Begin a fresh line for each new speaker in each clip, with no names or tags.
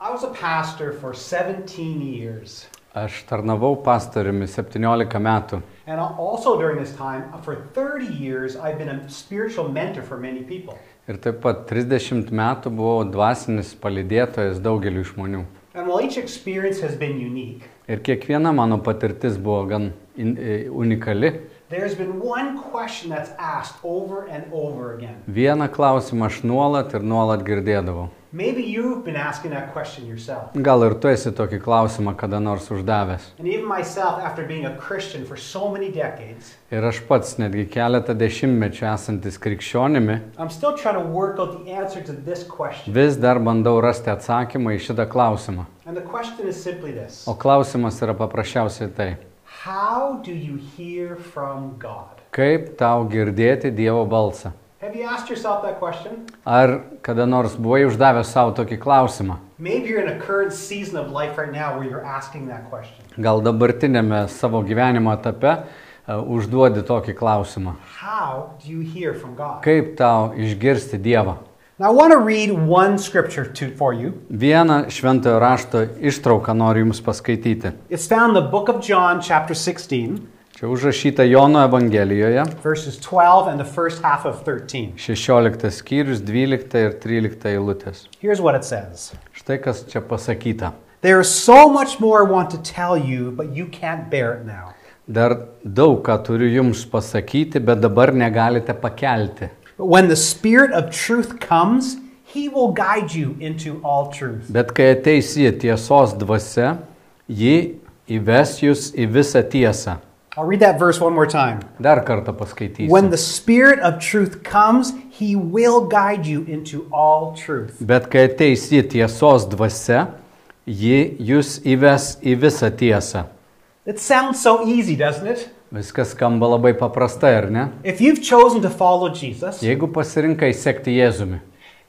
I was a pastor for 17 years.
Aš tarnavau pastoriumi 17 metų.
And al- also during this time, for 30 years, I've been a spiritual mentor for many people.
Ir taip pat 30 metų buvau dvasinis palidėtojas daugeliu žmonių.
And while each experience has been unique,
Ir kiekviena mano patirtis buvo gan in, i- unikali.
there's been one question that's asked over and over again.
Vieną klausimą aš nuolat ir nuolat girdėdavau.
Maybe you've been asking that question yourself.
Gal ir tu esi tokį klausimą kada nors uždavęs.
And even myself, after being a Christian for so many decades,
Ir aš pats netgi keletą dešimtmečių esantis krikščionimi
I'm still trying to work out the answer to this question.
vis dar bandau rasti atsakymą į šitą klausimą.
And the question is simply this
O klausimas yra paprasčiausiai tai.
How do you hear from God?
Kaip tau girdėti Dievo balsą?
Have you asked yourself that question?
Ar kada nors buvai uždavęs savo tokį klausimą?
Maybe you're in a current season of life right now where you're asking that question.
Gal dabartinėme savo gyvenimo etape e, užduodi tokį klausimą.
How do you hear from God?
Kaip tau išgirsti Dievą?
Now, I want to read one scripture to, for you.
Vieną šventojo rašto ištrauką noriu Jums paskaityti.
It's found in the book of John, chapter 16,
Čia užrašyta Jono Evangelijoje,
verses 12 and the first half of 13.
16 skyrius, 12 ir 13 eilutės.
Here's what it says
Štai kas čia pasakyta.
There is so much more I want to tell you, but you can't bear it now.
Dar daug ką turiu Jums pasakyti, bet dabar negalite pakelti.
But when the Spirit of truth comes, he will guide you into all truth.
Bet kai ateis į tiesos dvasę, ji įves jūs į visą tiesą.
I'll read that verse one more time.
Dar kartą paskaitysiu.
When the Spirit of truth comes, he will guide you into all truth.
Bet kai ateis į tiesos dvasę, ji jūs įves į visą tiesą.
It sounds so easy, doesn't it?
Viskas skamba labai paprastai, ar ne?
If you've chosen to follow Jesus,
Jeigu pasirinkai sekti Jėzumi,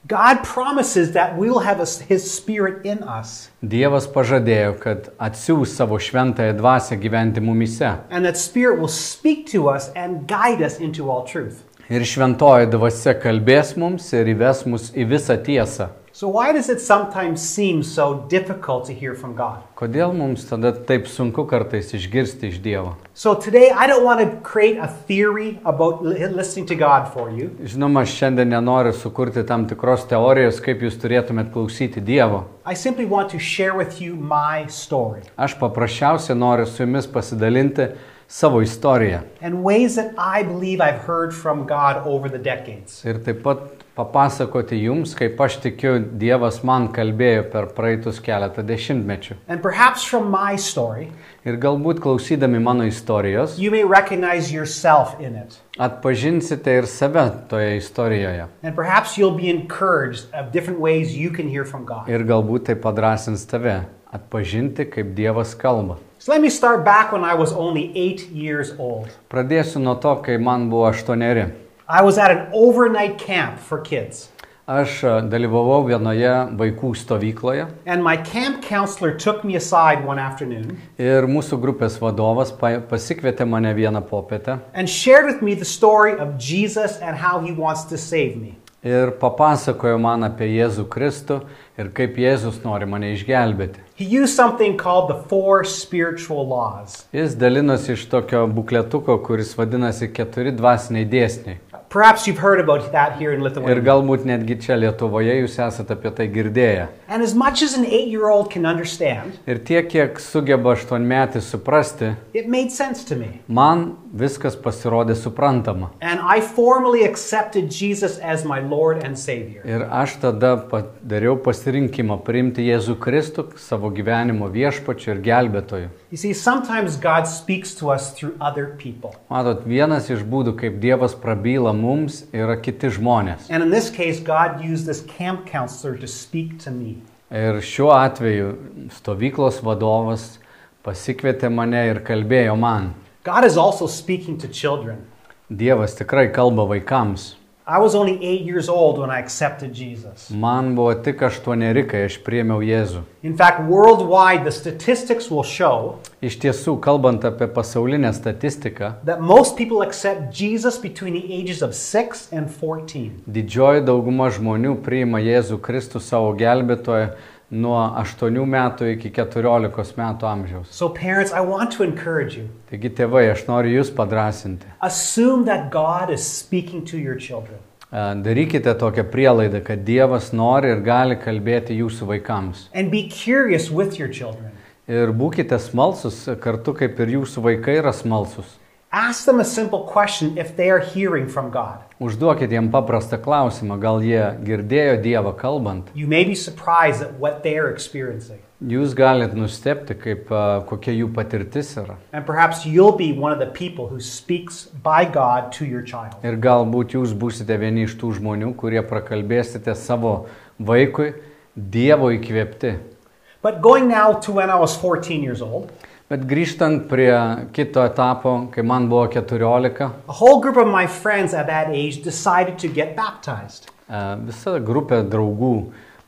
God promises that we will have a- his Spirit in us
Dievas pažadėjo, kad atsiūs savo šventąją dvasę gyventi mumise.
and that Spirit will speak to us and guide us into all truth.
Ir šventoji dvasė kalbės mums ir įves mus į visą tiesą.
So, why does it sometimes seem so difficult to hear from God?
Kodėl mums tada taip sunku kartais išgirsti iš Dievo?
So today, I don't want to create a theory about li- listening to God for you.
Žinoma, aš šiandien nenoriu sukurti tam tikros teorijos, kaip jūs turėtumėt klausyti Dievo.
I simply want to share with you my story
Aš paprasčiausiai noriu su jumis pasidalinti savo istoriją
and ways that I believe I've heard from God over the decades.
ir taip pat papasakoti jums, kaip aš tikiu Dievas man kalbėjo per praeitus keletą dešimtmečių.
And perhaps from my story,
Ir galbūt klausydami mano istorijos
you may recognize yourself in it.
atpažinsite ir save toje istorijoje.
And perhaps you'll be encouraged of different ways you can hear from God.
Ir galbūt tai padrasins tave atpažinti, kaip Dievas kalba.
So let me start back when I was only eight years old.
Pradėsiu nuo to, kai man buvo aštuoneri.
I was at an overnight camp for kids.
Aš e, dalyvavau vienoje vaikų stovykloje
And my camp counselor took me aside one afternoon
ir mūsų grupės vadovas pa- pasikvietė mane vieną popietę
and shared with me the story of Jesus and how he wants to save me.
ir papasakojo man apie Jėzų Kristų ir kaip Jėzus nori mane išgelbėti.
He used something called the four spiritual laws.
Jis dalinosi iš tokio bukletuko, kuris vadinasi keturi dvasiniai dėsniai.
Perhaps you've heard about that here in
Ir
Lithuania.
galbūt netgi čia Lietuvoje jūs esate apie tai girdėję.
And as much as an eight year old can understand,
Ir tiek, kiek sugeba aštuonmetį suprasti,
it made sense to me.
man viskas pasirodė suprantama.
And I formally accepted Jesus as my Lord and Savior.
Ir aš tada padariau pasirinkimą priimti Jėzų Kristų savo gyvenimo viešpačiu ir gelbėtoju.
You see, sometimes God speaks to us through other people.
Matot, vienas iš būdų, kaip Dievas prabyla mums, yra kiti žmonės.
And in this case, God used this camp counselor to speak to me.
Ir šiuo atveju stovyklos vadovas pasikvietė mane ir kalbėjo man.
God is also speaking to children.
Dievas tikrai kalba vaikams.
I was only eight years old when I accepted Jesus.
Man buvo tik aštuoneri, kai aš priėmiau Jėzų.
In fact, worldwide, the statistics will show
Iš tiesų, kalbant apie pasaulinę statistiką,
that most people accept Jesus between the ages of 6 and 14.
Didžioji dauguma žmonių priima Jėzų Kristų savo gelbėtoją nuo 8 metų iki 14 metų amžiaus.
So, parents, I want to encourage you.
Taigi tėvai, aš noriu jūs padrasinti.
Assume that God is speaking to your children.
E, Darykite tokią prielaidą, kad Dievas nori ir gali kalbėti jūsų vaikams.
And be curious with your children.
Ir būkite smalsus, kartu kaip ir jūsų vaikai yra smalsus.
Ask them a simple question if they are hearing from God.
Užduokite jiem paprastą klausimą, gal jie girdėjo Dievą kalbant.
You may be surprised at what they are experiencing.
Jūs galite nustepti, kaip, e, kokia jų patirtis yra.
And perhaps you'll be one of the people who speaks by God to your child.
Ir galbūt jūs būsite vieni iš tų žmonių, kurie prakalbėsite savo vaikui Dievo įkvėpti.
But going now to when I was 14 years old,
Bet grįžtant prie kito etapo, kai man buvo 14,
a whole group of my friends at that age decided to get baptized.
e, visa grupė draugų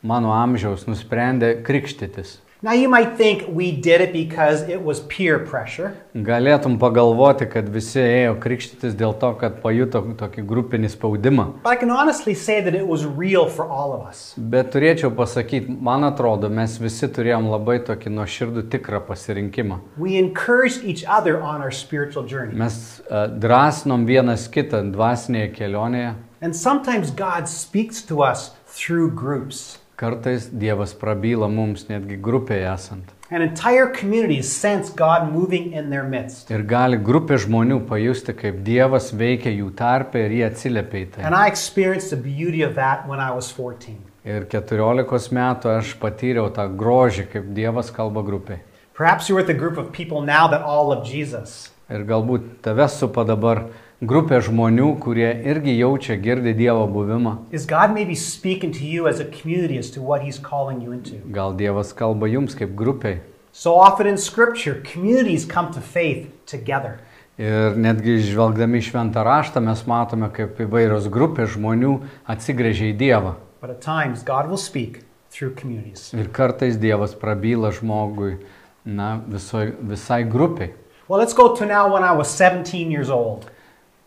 mano amžiaus nusprendė krikštytis.
Now you might think we did it because it was peer pressure,
Galėtum pagalvoti, kad visi ėjo krikštytis dėl to, kad pajuto tokį grupinį spaudimą.
but I can honestly say that it was real for all of us.
Bet turėčiau pasakyti, man atrodo, mes visi turėjom labai tokį nuoširdų tikrą pasirinkimą.
We encouraged each other on our spiritual journey.
Mes e, drąsinom vienas kitą dvasinėje kelionėje.
And sometimes God speaks to us through groups.
Kartais Dievas prabyla mums netgi grupėje esant.
And entire communities sense God moving in their midst.
Ir gali grupė žmonių pajusti, kaip Dievas veikia jų tarpe ir jie atsiliepia į tai.
And I experienced the beauty of that when I was 14.
Ir 14 metų aš patyriau tą grožį, kaip Dievas kalba grupiai.
Perhaps you're with a group of people now that all love Jesus.
Ir galbūt tave supa dabar grupė žmonių, kurie irgi jaučia, girdi Dievo buvimą.
Is God maybe speaking to you as a community as to what He's calling you into?
Gal Dievas kalba jums kaip grupiai.
So often in Scripture, communities come to faith together.
Ir netgi žvelgdami į šventą raštą mes matome, kaip įvairios grupės žmonių atsigrėžia į Dievą.
But at times, God will speak through communities.
Ir kartais Dievas prabyla žmogui, na, visoj, visai grupiai.
Well, let's go to now when I was 17 years old.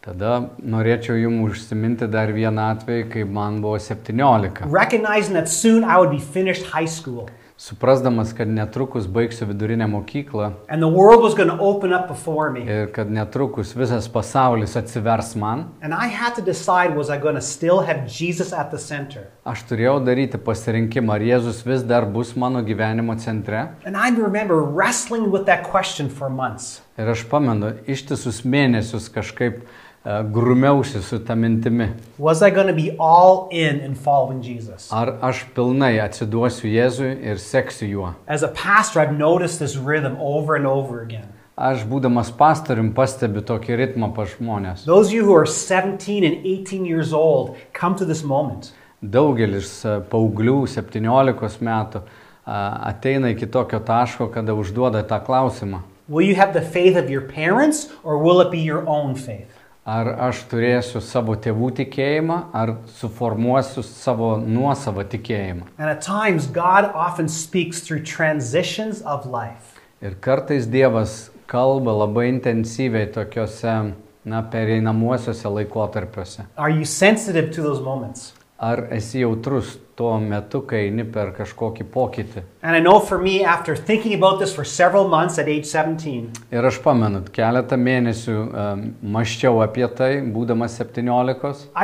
Tada norėčiau jums užsiminti dar vieną atvejį, kai man buvo 17.
Recognizing that soon I would be finished high school
Suprasdamas, kad netrukus baigsiu vidurinę mokyklą
and the world was going to open up before me.
ir kad netrukus visas pasaulis atsivers man,
And I had to decide was I going to still have Jesus at the center?
aš turėjau daryti pasirinkimą, ar Jėzus vis dar bus mano gyvenimo centre.
And I remember wrestling with that question for months.
Ir aš pamenu, ištisus mėnesius kažkaip e, grumiausi su tą mintimi.
Was I going to be all in in following Jesus?
Ar aš pilnai atsiduosiu Jėzui ir seksiu juo?
As a pastor, I've noticed this rhythm over and over again.
Aš būdamas pastorium pastebiu tokį ritmą pas žmonės.
Those of you who are 17 and 18 years old come to this moment.
Daugelis e, paauglių 17 metų a, ateina iki tokio taško, kada užduoda tą klausimą.
Will you have the faith of your parents or will it be your own faith?
Ar aš turėsiu savo tėvų tikėjimą, ar suformuosiu savo nuosavą tikėjimą.
And at times, God often speaks through transitions of life.
Ir kartais Dievas kalba labai intensyviai tokiuose, na, pereinamuosiuose laikotarpiuose.
Are you sensitive to those moments?
Ar esi jautrus tuo metu, kai eini per kažkokį pokytį?
And I know for me, after thinking about this for several months at age 17,
Ir aš pamenu, keletą mėnesių um, maščiau apie tai, būdamas 17,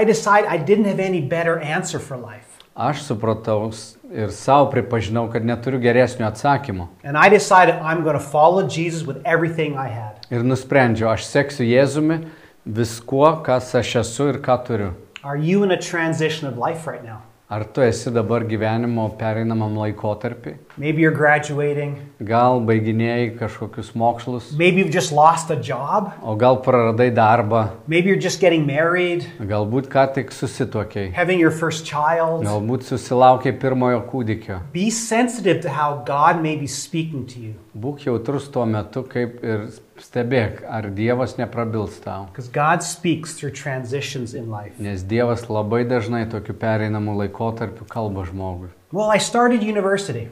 I decided I didn't have any better answer for life.
aš supratau s- ir savo pripažinau, kad neturiu geresnio atsakymo.
And I decided I'm going to follow Jesus with everything I had.
Ir nusprendžiau, aš seksiu Jėzumi viskuo, kas aš esu ir ką turiu.
Are you in a transition of life right now?
Ar tu esi dabar gyvenimo pereinamam laikotarpiu?
Maybe you're graduating.
Gal baiginėjai kažkokius mokslus,
Maybe you've just lost a job.
o gal praradai darbą,
Maybe you're just getting married,
galbūt ką tik susitokiai,
having your first child.
galbūt susilaukiai pirmojo kūdikio.
Be sensitive to how God may be speaking to you
Būk jautrus tuo metu, kaip ir stebėk, ar Dievas neprabils tau.
because God speaks through transitions in life.
Nes Dievas labai dažnai tokiu pereinamu laikotarpiu kalba žmogui.
Well, I started university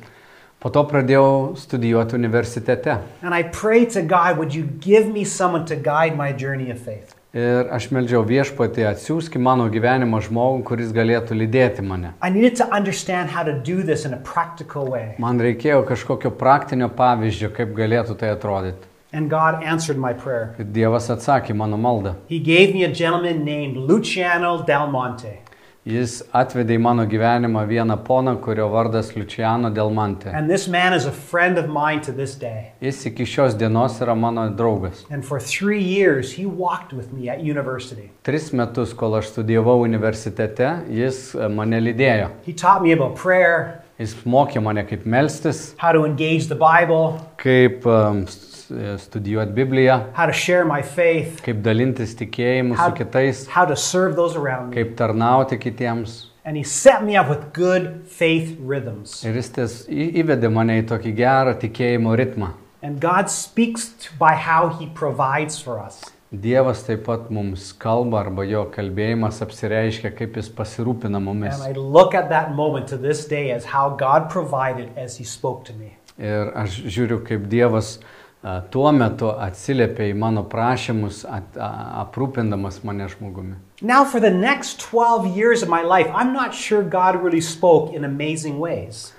Po to pradėjau studijuoti universitete
and I prayed to God, would you give me someone to guide my journey of faith?
Ir aš meldžiau viešpatį atsiųsk į mano gyvenimą žmogų, kuris galėtų lydėti mane.
I needed to understand how to do this in a practical way.
Man reikėjo kažkokio praktinio pavyzdžio, kaip galėtų tai atrodyti.
And God answered my prayer.
Ir Dievas atsakė mano maldą.
He gave me a gentleman named Luciano Del Monte.
Jis atvedė į mano gyvenimą vieną poną, kurio vardas Luciano Delmante.
And this man is a friend of mine to this day.
Jis iki šios dienos yra mano draugas.
And for three years, he walked with me at university.
Tris metus, kol aš studijavau universitete, jis e, mane lydėjo.
He taught me about prayer,
Jis mokė mane kaip melstis,
how to engage the Bible,
kaip em, s- e, studijuoti Bibliją,
how to share my faith,
kaip dalintis tikėjimu su
How-
kitais,
how to serve those around me.
kaip tarnauti kitiems.
And he set me up with good faith rhythms.
Ir jis ties į- įvedė mane į tokį gerą tikėjimo ritmą.
And God speaks to, by how he provides for us.
Dievas taip pat mums kalba arba jo kalbėjimas apsireiškia, kaip jis pasirūpina mumis.
And I look at that moment to this day as how God provided as he spoke to me.
Ir aš žiūriu, kaip Dievas a, tuo metu atsiliepia į mano prašymus, at, a, aprūpindamas mane žmogumi.
Now, for the next 12 years of my life, I'm not sure God really spoke in amazing ways.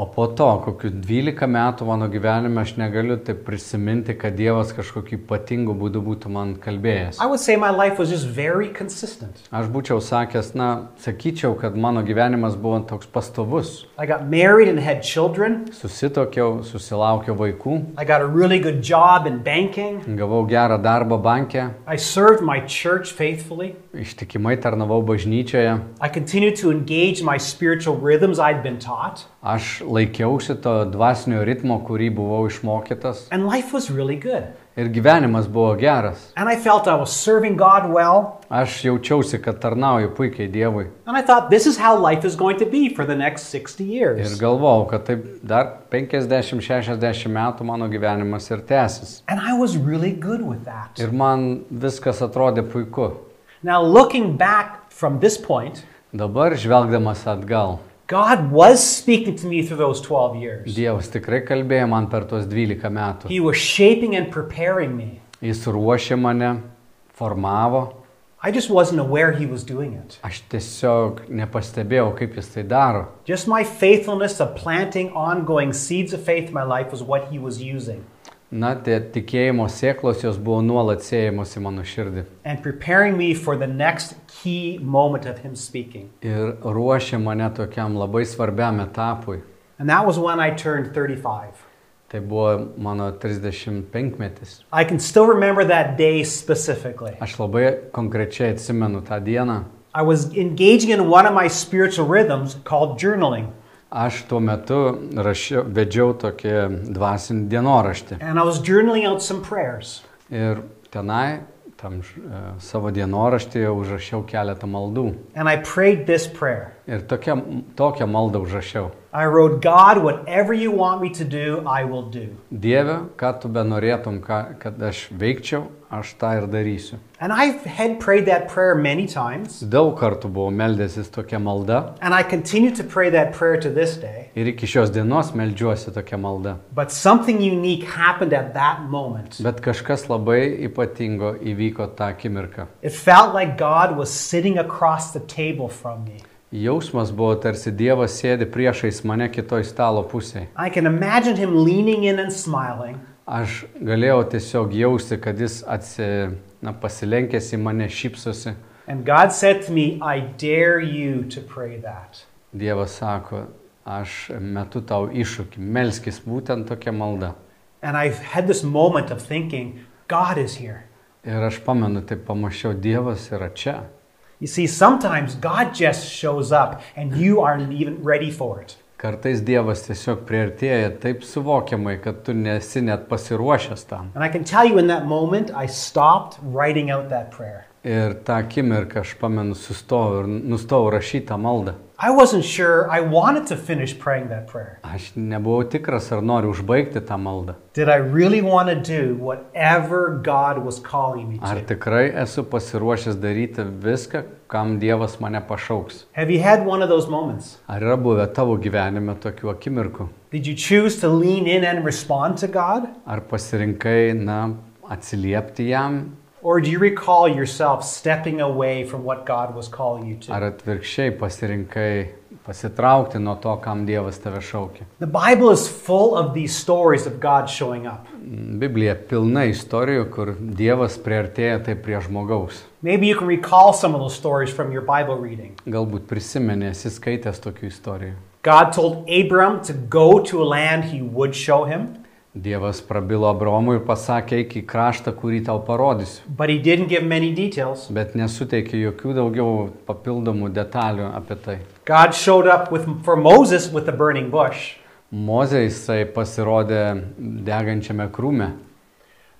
O po to, kokiu 12 metų mano gyvenime, aš negaliu taip prisiminti, kad Dievas kažkokiu ypatingu būdu būtų man kalbėjęs.
I would say my life was just very consistent.
Aš būčiau sakęs, na, sakyčiau, kad mano gyvenimas buvo toks pastovus.
I got married and had children.
Susitokiau, susilaukiau vaikų,
I got a really good job in banking.
gavau gerą darbą bankę,
I served my church faithfully.
ištikimai tarnavau bažnyčioje,
I continued to engage my spiritual rhythms I'd been taught.
aš laikiausi to dvasinio ritmo, kurį buvau išmokytas.
And life was really good.
Ir gyvenimas buvo geras.
And I felt I was serving God well.
Aš jaučiausi, kad tarnauju puikiai Dievui.
And I thought, this is how life is going to be for the next 60
Ir
years.
galvojau, kad taip dar 50-60 metų mano gyvenimas ir tęsis.
And I was really good with that.
Ir man viskas atrodė puiku.
Now, looking back from this point,
Dabar žvelgdamas atgal,
God was speaking to me through those 12 years.
Dievas tikrai kalbėjo man per tuos 12 metų.
He was shaping and preparing me.
Jis ruošė mane, formavo.
I just wasn't aware He was doing it.
Aš tiesiog nepastebėjau, kaip jis tai daro.
Just my faithfulness of planting ongoing seeds of faith in my life was what He was using
Na, tie tikėjimo sėklos jos buvo nuolat siejamos į mano širdį.
and preparing me for the next key moment of Him speaking.
Ir ruošė mane tokiam labai svarbiam etapui.
And that was when I turned 35.
Tai buvo mano 35-metis.
I can still remember that day specifically.
Aš labai konkrečiai atsimenu tą dieną.
I was engaging in one of my spiritual rhythms called journaling,
Aš tuo metu rašiau, vedžiau tokį dvasinį dienoraštį.
and I was journaling out some prayers.
Ir tenai, tam ž- e, savo dienoraštyje užrašiau keletą maldų.
And I prayed this prayer
Ir tokią, tokią maldą užrašiau.
I wrote, God, whatever you want me to do, I will do.
Dieve, ką tu be norėtum, ką, kad aš veikčiau, aš tą ir darysiu.
And I had prayed that prayer many times,
Daug kartų buvau meldęsis tokia malda
and I continue to pray that prayer to this day.
ir iki šios dienos meldžiuosi tokia malda.
But something unique happened at that moment.
Bet kažkas labai ypatingo įvyko tą akimirką.
It felt like God was sitting across the table from me.
Jausmas buvo tarsi Dievas sėdi priešais mane kitoj stalo pusėje.
I can imagine him leaning in and smiling.
Aš galėjau tiesiog jausti, kad jis atsi, na, pasilenkęs į mane šypsosi.
And God said to me, I dare you to pray that.
Dievas sako, aš metu tau iššūkį, melskis būtent tokia malda.
And I had this moment of thinking, God is here.
Ir aš pamenu, taip pamačiau, Dievas yra čia.
You see, sometimes God just shows up and you aren't even ready for it.
Kartais Dievas tiesiog prieartėja taip suvokiamai, kad tu nesi net pasiruošęs tam.
And I can tell you in that moment, I stopped writing out that prayer.
Ir tą akimirką aš pamenu, sustojau ir nustojau rašyti tą maldą.
I wasn't sure I wanted to finish praying that prayer.
Aš nebuvau tikras, ar noriu užbaigti tą maldą.
Did I really want to do whatever God was calling me
Ar
to?
tikrai esu pasiruošęs daryti viską, kam Dievas mane pašauks.
Have you had one of those moments?
Ar yra buvę tavo gyvenime tokių akimirkų?
Did you choose to lean in and respond to God?
Ar pasirinkai, na, atsiliepti jam
Or do you recall yourself stepping away from what God was calling you to?
Ar atvirkščiai pasirinkai pasitraukti nuo to, kam Dievas tave šaukia?
The Bible is full of these stories of God showing up.
Mm, Biblija pilna istorijų, kur Dievas priartėja tai prie žmogaus.
Maybe you can recall some of those stories from your Bible reading.
Galbūt prisimenė, esi skaitęs tokių istorijų.
God told Abram to go to a land he would show him,
Dievas prabilo Abromui ir pasakė, eik į kraštą, kurį tau parodysiu,
but he didn't give many details.
bet nesuteikė jokių daugiau papildomų detalių apie tai.
God showed up with, for Moses with the burning bush.
Mozė jisai pasirodė degančiame krūme.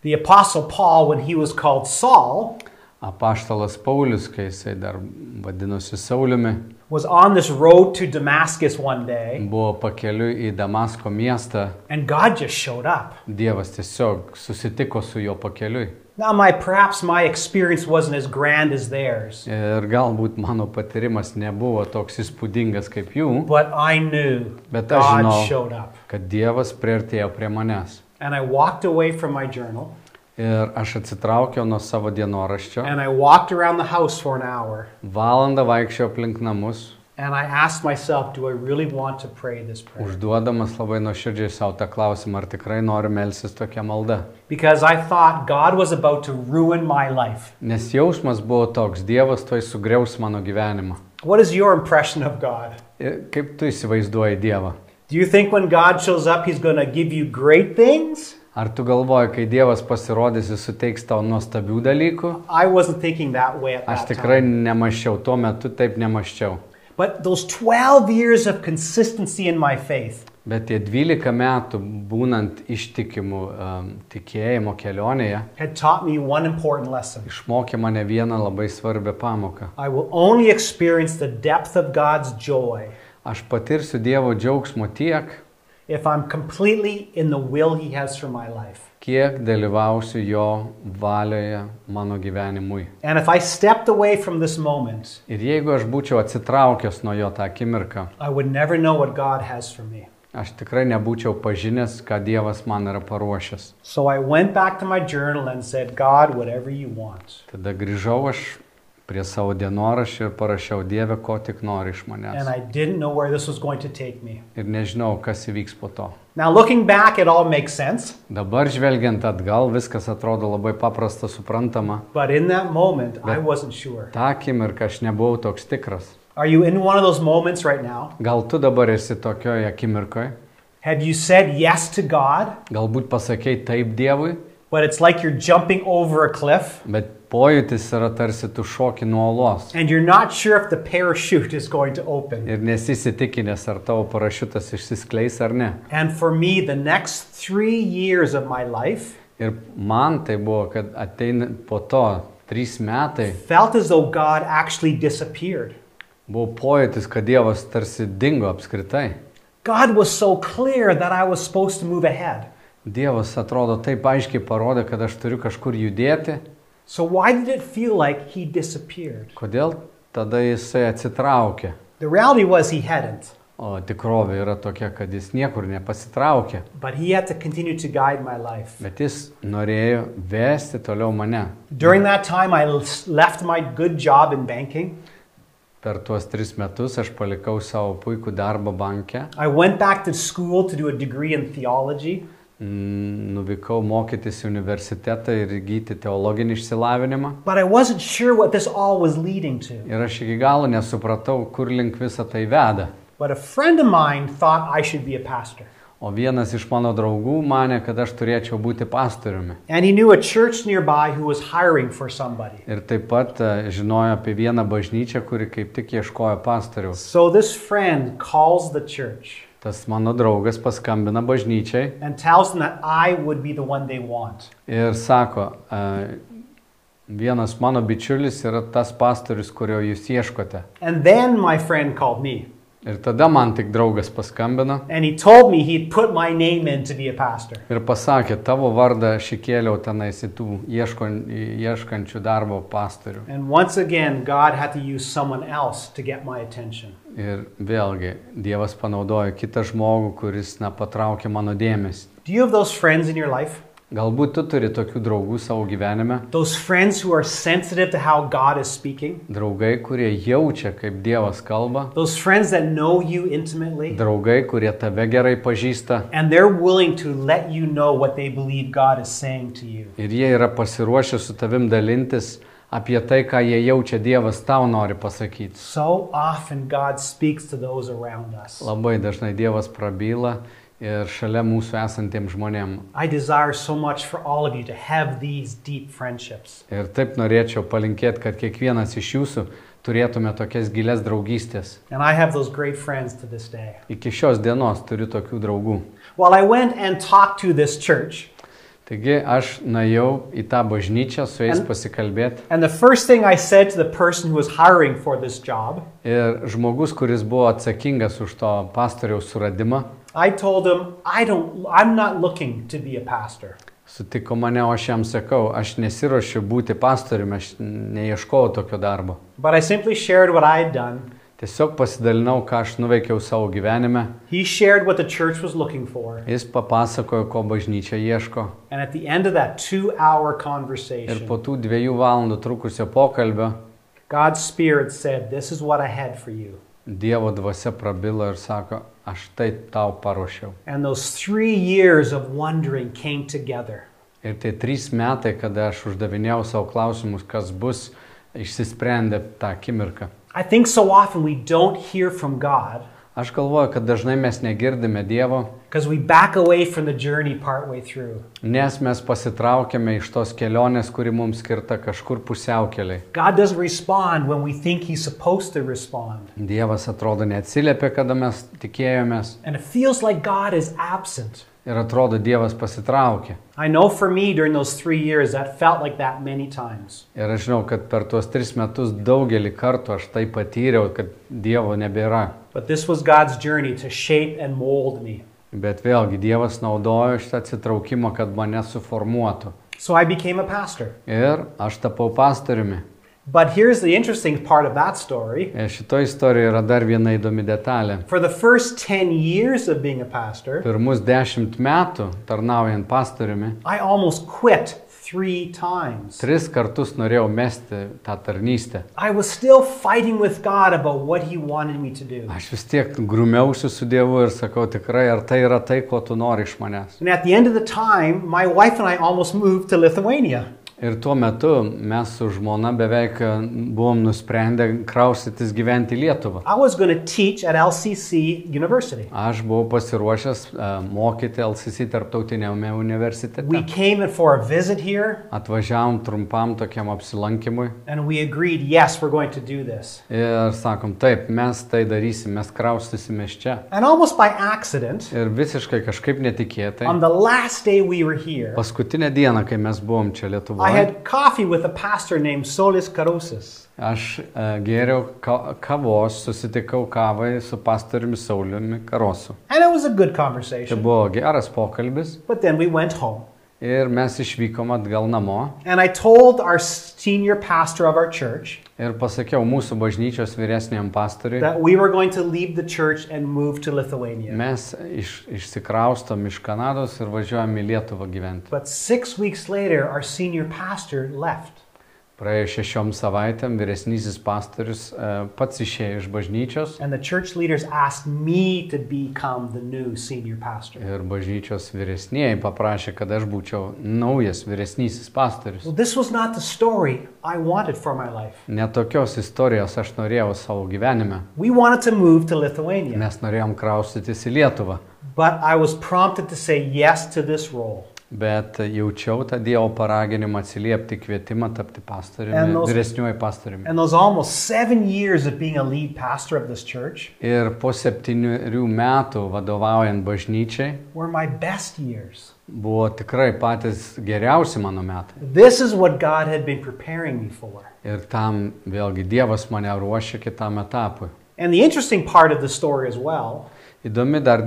The Apostle Paul, when he was called Saul,
Apaštalas Paulius, kai jisai dar vadinosi Sauliumi,
was on this road to Damascus one day,
buvo pakeliu į Damasko miestą.
and God just showed up.
Dievas tiesiog susitiko su juo pakeliui.
Now, my perhaps my experience wasn't as grand as theirs,
Ir galbūt mano patyrimas nebuvo toks įspūdingas kaip jų,
but I knew
bet aš
God
žinau,
showed up.
kad Dievas priartėjo prie manęs.
And I walked away from my journal,
Ir aš atsitraukiau nuo savo dienoraščio,
and I walked around the house for an hour,
valandą vaikščiojau aplink namus,
and I asked myself, do I really want to pray this prayer?
užduodamas labai nuoširdžiai savo tą klausimą, ar tikrai noriu melsis tokia malda.
Because I thought God was about to ruin my life.
Nes jausmas buvo toks, Dievas toj sugriaus mano gyvenimą.
What is your impression of God?
Ir kaip tu įsivaizduoji Dievą?
Do you think when God shows up, He's going to give you great things?
Ar tu galvoji, kai Dievas pasirodys, jis suteiks tau nuostabių dalykų?
I wasn't thinking that way at
Aš
that
tikrai
time.
nemačiau, tuo metu taip nemačiau.
But those 12 years of consistency in my faith,
Bet tie 12 metų būnant ištikimų um, tikėjimo kelionėje
had taught me one important lesson.
išmokė mane vieną labai svarbią pamoką.
I will only experience the depth of God's joy
Aš patirsiu Dievo džiaugsmo tiek,
if I'm completely in the will He has for my life.
kiek dalyvausiu Jo valioje mano gyvenimui.
And if I stepped away from this moment,
Ir jeigu aš būčiau atsitraukęs nuo Jo tą akimirką,
I would never know what God has for me.
aš tikrai nebūčiau pažinęs, ką Dievas man yra paruošęs.
So I went back to my journal and said, God, whatever you want.
Tada grįžau aš prie savo dienoraščio ir parašiau Dievę, ko tik nori iš
And
manęs.
I didn't know where this was going to take me.
Ir nežinau, kas įvyks po to.
Now, looking back, it all makes sense.
Dabar žvelgiant atgal, viskas atrodo labai paprasta, suprantama.
But in that moment, I
Yeah.
wasn't sure.
Ta akimirka aš nebuvau toks tikras.
Are you in one of those moments right now?
Gal tu dabar esi tokioje akimirkoje?
Have you said yes to God,
Galbūt pasakėjai taip Dievui,
but it's like you're jumping over a cliff
bet pojūtis yra tarsi tu šoki nuo olos.
and you're not sure if the parachute is going to open?
Ir nesisitikinęs, ar tavo parašiutas išsiskleis ar ne.
And for me, the next three years of my life
Ir man tai buvo, kad ateina po to trys metai,
felt as though God actually disappeared.
Buvo pojūtis, kad Dievas tarsi dingo apskritai.
God was so clear that I was supposed to move ahead.
Dievas atrodo taip aiškiai parodė, kad aš turiu kažkur judėti.
So, why did it feel like He disappeared?
Kodėl tada jisai atsitraukė?
The reality was He hadn't,
O tikrovė yra tokia, kad jis niekur nepasitraukė,
but He had to continue to guide my life.
bet jis norėjo vesti toliau mane.
During that time, I l- left my good job in banking.
Per tuos tris metus aš palikau savo puikų darbą bankę,
I went back to school to do a degree in theology.
mm, nuvykau mokytis į universitetą ir įgyti teologinį išsilavinimą.
But I wasn't sure what this all was leading to.
Ir aš iki galo nesupratau, kur link visą tai veda.
But a friend of mine thought I should be a pastor.
O vienas iš mano draugų mane, kad aš turėčiau būti pastoriumi.
And he knew a church nearby who was hiring for somebody.
Ir taip pat e, žinojo apie vieną bažnyčią, kuri kaip tik ieškojo pastoriaus.
So this friend calls the church
Tas mano draugas paskambina bažnyčiai
and tells them that I would be the one they want.
ir sako, e, vienas mano bičiulis yra tas pastorius, kurio jūs ieškote.
And then my friend called me
Ir tada man tik draugas paskambina
and he told me he'd put my name in to be a pastor.
ir pasakė, tavo vardą aš įkėliau tenais į tų ieško, ieškančių darbo pastorių.
And once again, God had to use someone else to get my attention.
Ir vėlgi, Dievas panaudojo kitą žmogų, kuris na, patraukė mano dėmesį.
Do you have those friends in your life?
Galbūt tu turi tokių draugų savo gyvenime,
Those friends who are sensitive to how God is speaking,
draugai, kurie jaučia, kaip Dievas kalba,
those friends that know you intimately,
draugai, kurie tave gerai pažįsta
and they're willing to let you know what they believe God is saying to you.
ir jie yra pasiruošę su tavim dalintis apie tai, ką jie jaučia Dievas tau nori pasakyti.
So often God speaks to those around us.
Labai dažnai Dievas prabyla ir šalia mūsų esantiems žmonėm.
I desire so much for all of you to have these deep friendships.
Ir taip norėčiau palinkėti, kad kiekvienas iš jūsų turėtume tokias gilias draugystės.
And I have those great friends to this day.
Iki šios dienos turiu tokių draugų.
Well, I went and talked to this church,
Taigi aš nuėjau į tą bažnyčią su jais pasikalbėti
and the first thing I said to the person who was hiring for this job,
ir žmogus, kuris buvo atsakingas už to pastoriaus suradimą,
I told him, I don't I'm not looking to be a pastor.
sutiko mane, o aš jam sakau, aš nesiuošiu būti pastoriumi, aš neieškojau tokio darbo.
But I simply shared what I had done.
Tiesiog pasidalinau, ką aš nuveikiau savo gyvenime.
He shared what the church was looking for.
Jis papasakojo, ko bažnyčia ieško.
And at the end of that two hour
Ir
conversation,
po tų dviejų valandų trukusio pokalbio
God's Spirit said, This is what I had for you.
Dievo dvasia prabilo ir sako, aš tai tau paruošiau.
And those three years of wondering came together.
Ir tie trys metai, kada aš uždavinėjau savo klausimus, kas bus, išsisprendė tą akimirką.
I think so often we don't hear from God
Aš galvoju, kad dažnai mes negirdime Dievo,
because we back away from the journey partway through.
nes mes pasitraukėme iš tos kelionės, kuri mums skirta kažkur pusiaukeliai.
God doesn't respond when we think He's supposed to respond.
Dievas atrodo neatsiliepė, kada mes tikėjomės
And it feels like God is absent.
ir atrodo Dievas pasitraukė.
I know for me during those three years, that felt like that many times.
Ir aš žinau, kad per tuos tris metus daugelį kartų aš tai patyriau, kad Dievo nebėra.
But this was God's journey to shape and mold me.
Bet vėlgi Dievas naudojo šitą atsitraukimą, kad mane suformuotų.
So I became a pastor.
Ir aš tapau pastoriumi.
But here's the interesting part of that story.
Ir šitoje istorijoje yra dar viena įdomi detalė.
For the first 10 years of being a pastor,
Pirmus dešimt metų tarnaujant pastoriumi,
I almost quit three times.
tris kartus norėjau mesti tą tarnystę.
I was still fighting with God about what He wanted me to do.
Aš vis tiek grumiausiu su Dievu ir sakau tikrai, ar tai yra tai, ko tu nori iš manęs.
And at the end of the time, my wife and I almost moved to Lithuania.
Ir tuo metu mes su žmona beveik e, buvom nusprendę kraustytis gyventi į Lietuvą.
I was going to teach at LCC University.
Aš buvau pasiruošęs e, mokyti LCC tarptautinėme
We
universitete.
came in for a visit here
Atvažiavom trumpam tokiam apsilankimui
and we agreed, yes, we're going to do this.
ir sakom, taip, mes tai darysim, mes kraustysime iš čia.
And almost by accident,
Ir visiškai kažkaip netikėtai.
on the last day we were here,
Paskutinę dieną, kai mes buvom čia
I
Lietuvoje,
had coffee with a pastor named Solis Karosis.
aš e, gėriau ka kavos, susitikau kavai su pastoriumi Sauliumi Karosu.
And it was a good
Tai
conversation.
buvo geras pokalbis
But then we went home.
ir mes išvykom atgal namo
And I told our senior pastor of our church
ir pasakiau mūsų bažnyčios vyresniam pastoriui,
that we were going to leave the church and move to Lithuania.
mes iš, išsikraustom iš Kanados ir važiuojam į Lietuvą gyventi.
But six weeks later, our senior pastor left.
Praėjus šešiom savaitėm vyresnysis pastorius e, pats išėjo iš bažnyčios
And the church leaders asked me to become the new senior pastor.
Ir bažnyčios vyresnieji paprašė, kad aš būčiau naujas vyresnysis pastorius.
Well, this was not the story I wanted for my life.
Netokios istorijos aš norėjau savo gyvenime.
We wanted to move to Lithuania,
Mes norėjom kraustytis į Lietuvą,
but I was prompted to say yes to this role.
bet jaučiau tą Dievo paraginimą atsiliepti į kvietimą tapti pastoriumi,
And those-
vyresniuoju pastoriumi.
And those almost seven years of being a lead pastor of this church
Ir po septynių metų vadovaujant bažnyčiai
were my best years.
buvo tikrai patys geriausi mano metai.
This is what God had been preparing me for.
Ir tam vėlgi Dievas mane ruošia kitam etapui.
And the interesting part of the story as well,
Įdomi dar e,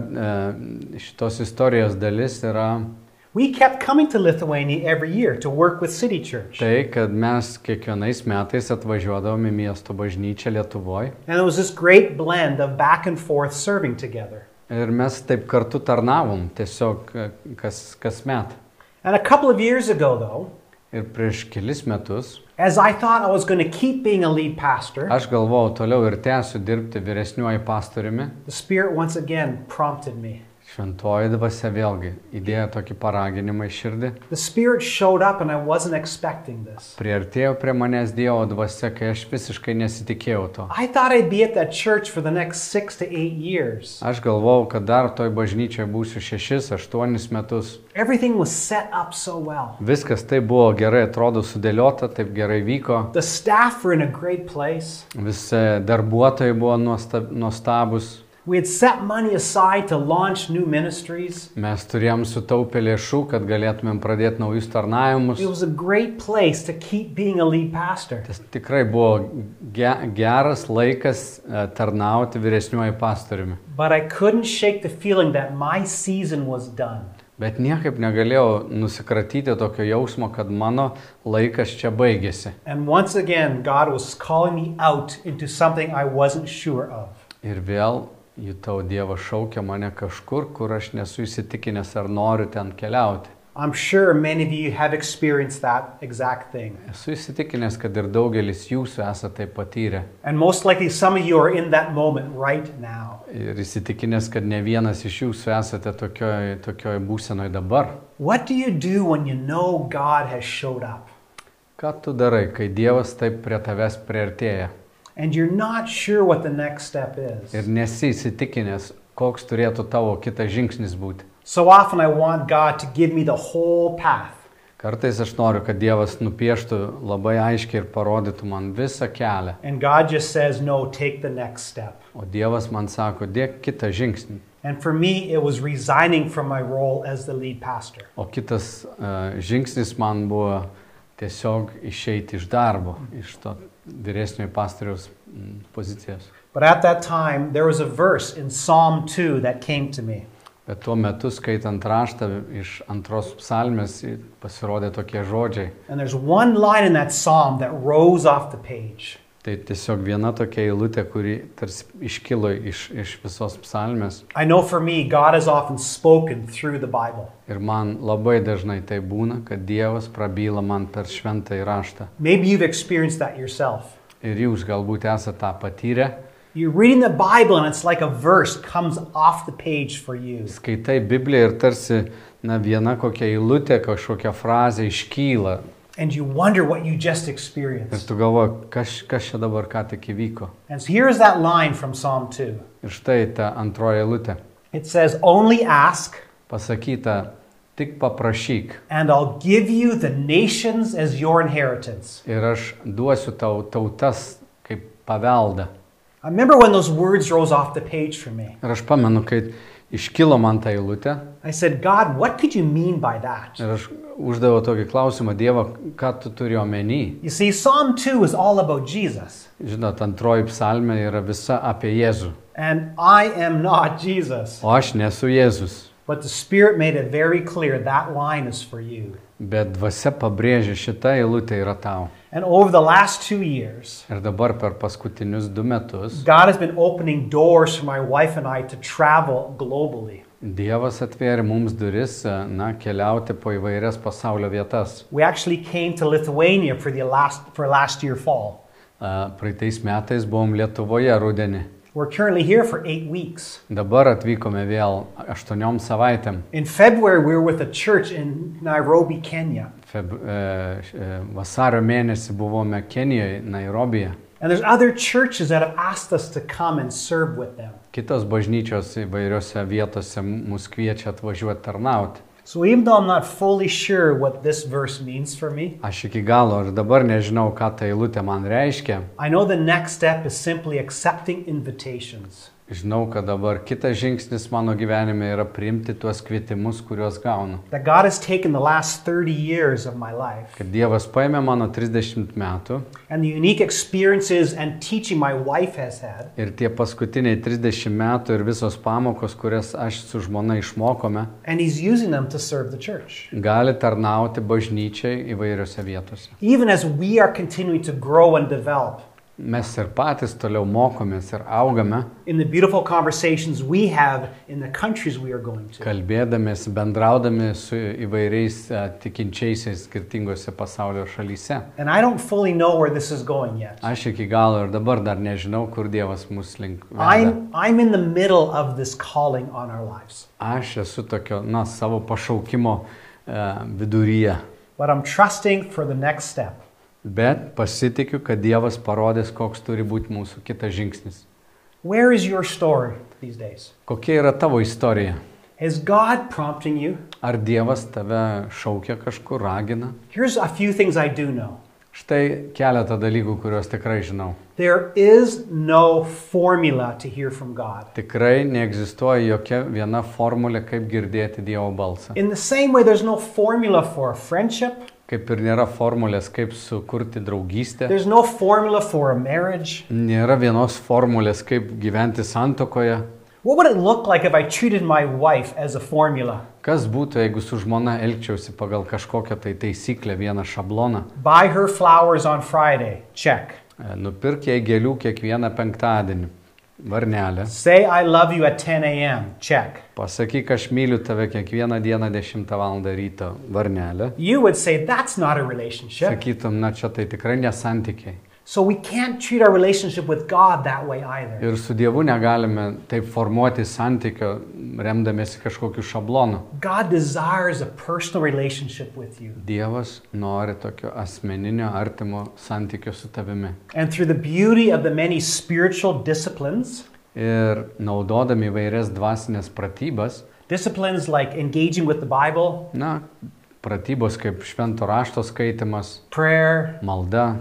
šitos istorijos dalis yra
we kept coming to Lithuania every year to work with City Church.
tai, kad mes kiekvienais metais atvažiuodavom į miesto bažnyčią Lietuvoje
And it was this great blend of back and forth serving together.
ir mes taip kartu tarnavom tiesiog e, kas, kas met.
And a couple of years ago, though,
Ir prieš kelis metus
as I thought I was going to keep being a lead pastor,
aš galvojau toliau ir tęsiu dirbti vyresniuoju pastoriumi.
the Spirit once again prompted me.
Šventoji dvasia vėlgi įdėjo tokį paraginimą į širdį.
The Spirit showed up, and I wasn't expecting this.
Priartėjo prie manęs Dievo dvasia, kai aš visiškai nesitikėjau to.
I thought I'd be at that church for the next six to eight years.
Aš galvojau, kad dar toj bažnyčioje būsiu šešis, aštuonis metus.
Everything was set up so well.
Viskas taip buvo gerai, atrodo sudėliota, taip gerai vyko.
The staff were in a great place.
Visi darbuotojai buvo nuostab, nuostabus.
We had set money aside to launch new ministries.
Mes turėjom sutaupę lėšų, kad galėtumėm pradėti naujus tarnavimus.
It was a great place to keep being a lead pastor.
Tas tikrai buvo ge, geras laikas e, tarnauti vyresniuoju pastoriumi.
But I couldn't shake the feeling that my season was done.
Bet niekaip negalėjau nusikratyti tokio jausmo, kad mano laikas čia baigėsi.
And once again, God was calling me out into something I wasn't sure of.
Ir vėl jutau Dievas šaukia mane kažkur, kur aš nesu įsitikinęs, ar noriu ten keliauti.
I'm sure many of you have experienced that exact thing.
Esu įsitikinęs, kad ir daugelis jūsų esate tai patyrę.
And most likely, some of you are in that moment right now.
Ir įsitikinęs, kad ne vienas iš jūsų esate tokioj, tokioj būsenoj dabar.
What do you do when you know God has showed up
Ką tu darai, kai Dievas taip prie tavęs priartėja
and you're not sure what the next step
ir
is?
nesi įsitikinęs, koks turėtų tavo kitas žingsnis būti?
So often, I want God to give me the whole path.
Kartais aš noriu, kad Dievas nupieštų labai aiškiai ir parodytų man visą kelią,
And God just says, no, take the next step.
o Dievas man sako, dėk kitą žingsnį.
And for me, it was resigning from my role as the lead pastor.
O kitas uh, žingsnis man buvo tiesiog išeiti iš darbo, iš to vyresniojo pastoriaus mm, pozicijos.
But at that time, there was a verse in Psalm 2 that came to me.
Bet tuo metu, skaitant raštą iš antros psalmės, i- pasirodė tokie žodžiai.
And there's one line in that psalm that rose off the page.
Tai tiesiog viena tokia eilutė, kuri tarsi iškilo iš, iš visos psalmės.
I know for me, God has often spoken through the Bible.
Ir man labai dažnai tai būna, kad Dievas prabyla man per šventą įraštą.
Maybe you've experienced that yourself.
Ir jūs galbūt esate tą patyrę.
You're reading the Bible, and it's like a verse comes off the page for you.
Skaitai Bibliją ir tarsi na, viena kokia eilutė, kažkokia frazė iškyla.
And you wonder what you just
Ir
experienced.
tu galvoji, kas, kas čia dabar ką tik įvyko.
And so here's that line from Psalm 2
Ir štai ta antroji eilutė.
it says, Only ask.
Pasakyta, tik paprašyk.
and I'll give you the nations as your inheritance.
Ir aš duosiu tau tautas kaip paveldą.
I remember when those words rose off the page for me.
Ir aš pamenu, kai iškilo man ta eilutė
I said, God, what could you mean by that?
ir aš uždaviau tokį klausimą, Dievo, ką tu turi omeny?
You see, Psalm 2 is all about Jesus,
Žinot, antroji psalmė yra visa apie Jėzų.
and I am not Jesus.
O aš nesu Jėzus.
But the Spirit made it very clear that line is for you.
Bet dvasia pabrėžia, šita eilutė yra tau.
And over the last two years,
Ir dabar per paskutinius du metus
God has been opening doors for my wife and I to travel globally.
Dievas atvėrė mums duris, na, keliauti po įvairias pasaulio vietas.
We actually came to Lithuania for the last for last year fall.
A, Praeitais metais buvom Lietuvoje rudenį.
We're currently here for eight weeks.
Dabar atvykome vėl aštuoniom savaitėm.
In February, we were with a church in Nairobi, Kenya.
Feb... E, š- e, vasario mėnesį buvome Kenijoje, Nairobije.
And there's other churches that have asked us to come and serve with them.
Kitos bažnyčios įvairiose vietose mus kviečia atvažiuoti tarnauti.
So even though I'm not fully sure what this verse means for me,
Aš iki galo ir dabar nežinau, ką ta eilutė man reiškia.
I know the next step is simply accepting invitations.
Žinau, kad dabar kitas žingsnis mano gyvenime yra priimti tuos kvietimus, kuriuos gaunu.
That God has taken the last 30 years of my life
Kad Dievas paėmė mano 30 metų
and the unique experiences and teaching my wife has had
ir tie paskutiniai 30 metų ir visos pamokos, kurias aš su žmona išmokome,
and He's using them to serve the church.
gali tarnauti bažnyčiai įvairiose vietose.
Even as we are continuing to grow and develop,
mes ir patys toliau mokomės ir augame,
in the beautiful conversations we have in the countries we are going to.
kalbėdamės, bendraudami su įvairiais a, tikinčiaisiais skirtingose pasaulio šalyse.
And I don't fully know where this is going yet.
Aš iki galo ir dabar dar nežinau, kur Dievas mus link. veda.
I'm, I'm in the middle of this calling on our lives,
Aš esu tokio, na, savo pašaukimo e, viduryje,
but I'm trusting for the next step.
bet pasitikiu, kad Dievas parodys, koks turi būti mūsų kitas žingsnis.
Where is your story these days?
Kokia yra tavo istorija?
Is God prompting you?
Ar Dievas tave šaukia kažkur, ragina?
Here's a few things I do know.
Štai keletą dalykų, kuriuos tikrai žinau.
There is no formula to hear from God.
Tikrai neegzistuoja jokia viena formulė, kaip girdėti Dievo balsą.
In the same way, there's no formula for a friendship,
Kaip ir nėra formulės, kaip sukurti draugystę.
there's no formula for a marriage.
Nėra vienos formulės, kaip gyventi santokoje.
What would it look like if I treated my wife as a formula?
Kas būtų, jeigu su žmona elgčiausi pagal kažkokią tai taisyklę, vieną šabloną?
Buy her flowers on Friday, check.
E, Nupirk jai gėlių kiekvieną penktadienį. Varnelę.
Say I love you at 10 a.m., check.
Pasakyk, aš myliu tave kiekvieną dieną 10 val. ryto. Varnelę.
You would say that's not a relationship.
Sakytum, na čia tai tikrai nesantykiai.
So we can't treat our relationship with God that way either.
Ir su Dievu negalime taip formuoti santykio, remdamėsi kažkokiu šablonu.
God desires a personal relationship with you.
Dievas nori tokio asmeninio, artimo santykio su tavimi.
And through the beauty of the many spiritual disciplines,
Ir naudodami įvairias dvasinės pratybas,
disciplines like engaging with the Bible,
na, pratybos kaip švento rašto skaitimas,
prayer,
malda,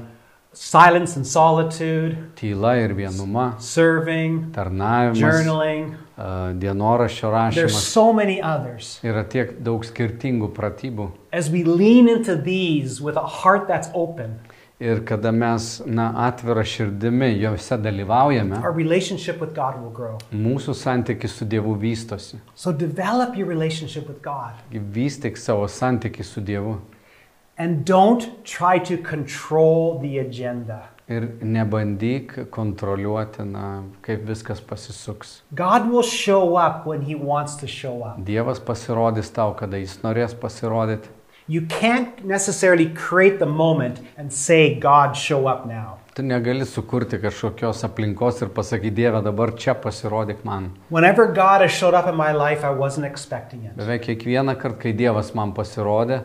silence and solitude,
tyla ir vienuma,
serving,
tarnavimas,
journaling,
a, dienoraščio
there's
rašymas.
so many others.
Yra tiek daug skirtingų pratybų.
as we lean into these with a heart that's open,
Ir kada mes, na, atvira širdimi juose dalyvaujame,
our relationship with God will grow.
mūsų santykis su Dievu vystosi.
So develop your relationship with God
Vystyk savo santykį su Dievu
and don't try to control the agenda.
ir nebandyk kontroliuoti, na, kaip viskas pasisuks.
God will show up when He wants to show up.
Dievas pasirodys tau, kada jis norės pasirodyti.
You can't necessarily create the moment and say, God, show up now.
Tu negali sukurti kažkokios aplinkos ir pasakyti, Dieve, dabar čia pasirodyk man.
Whenever God has showed up in my life, I wasn't expecting it,
Beveik kiekvieną kartą, kai Dievas man pasirodė,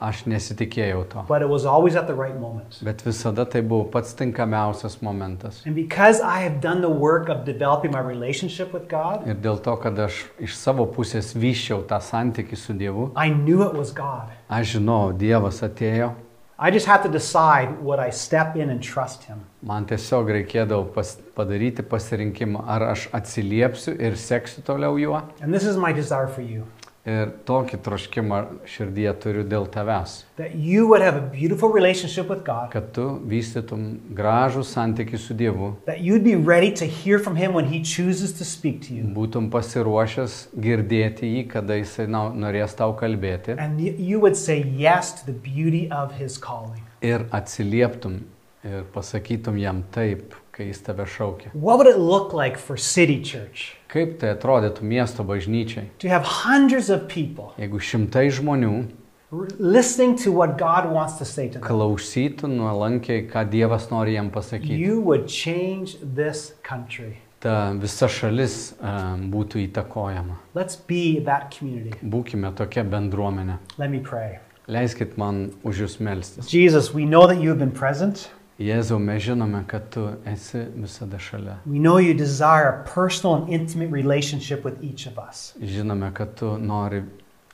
aš nesitikėjau to.
but it was always at the right moment.
Bet visada tai buvo pats tinkamiausias momentas.
And because I have done the work of developing my relationship with God,
Ir dėl to, kad aš iš savo pusės vyščiau tą santykį su Dievu,
I knew it was God.
aš žinau, Dievas atėjo,
I just have to decide would I step in and trust him.
man tiesiog reikėdavo pas, padaryti pasirinkimą, ar aš atsiliepsiu ir seksiu toliau juo.
And this is my desire for you
Ir tokį troškimą širdyje turiu dėl tavęs,
that you would have a beautiful relationship with God,
kad tu vystytum gražų santykių su Dievu,
that you'd be ready to hear from him when he chooses to speak to you,
būtum pasiruošęs girdėti jį, kada jisai na- norės tau kalbėti
and y- you would say yes to the beauty of his calling.
ir atsilieptum ir pasakytum jam taip, kai jis tave šaukia.
What would it look like for City Church
Kaip tai atrodytų miesto bažnyčiai,
to have hundreds of people
jeigu šimtai žmonių
r- listening to what God wants to say to them?
klausytų nuolankiai, ką Dievas nori jam pasakyti?
You would change this country.
ta visa šalis e, būtų įtakojama.
Let's be that community.
Būkime tokia bendruomenė.
Let me pray.
Leiskit man už jūs melstis.
Jesus, we know that you have been present.
Jėzau, mes žinome, kad tu esi visada šalia.
We know you desire a personal and intimate relationship with each of us.
Žinome, kad tu nori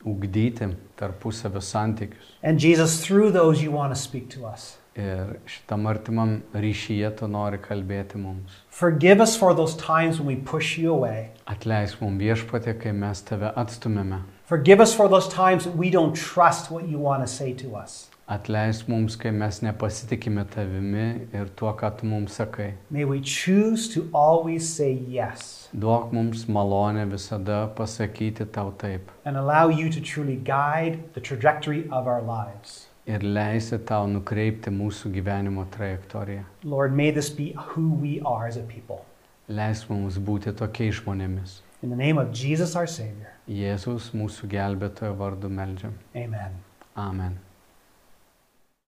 ugdyti tarpusavio santykius.
And Jesus, through those, you want to speak to us.
Ir šitam artimam ryšyje tu nori kalbėti mums.
Forgive us for those times when we push you away.
Atleisk mums viešpatė, kai mes tave atstumėme.
Forgive us for those times that we don't trust what you want to say to us.
Atleisk mums, kai mes nepasitikime tavimi ir tuo, ką tu mums sakai.
May we choose to always say yes
Duok mums malonę visada pasakyti tau taip
and allow you to truly guide the trajectory of our lives.
ir leisi tau nukreipti mūsų gyvenimo trajektoriją.
Lord, may this be who we are as a people.
Leisk mums būti tokiais žmonėmis.
In the name of Jesus, our Savior.
Jėzus mūsų gelbėtojo vardu meldžiam.
Amen.
Amen.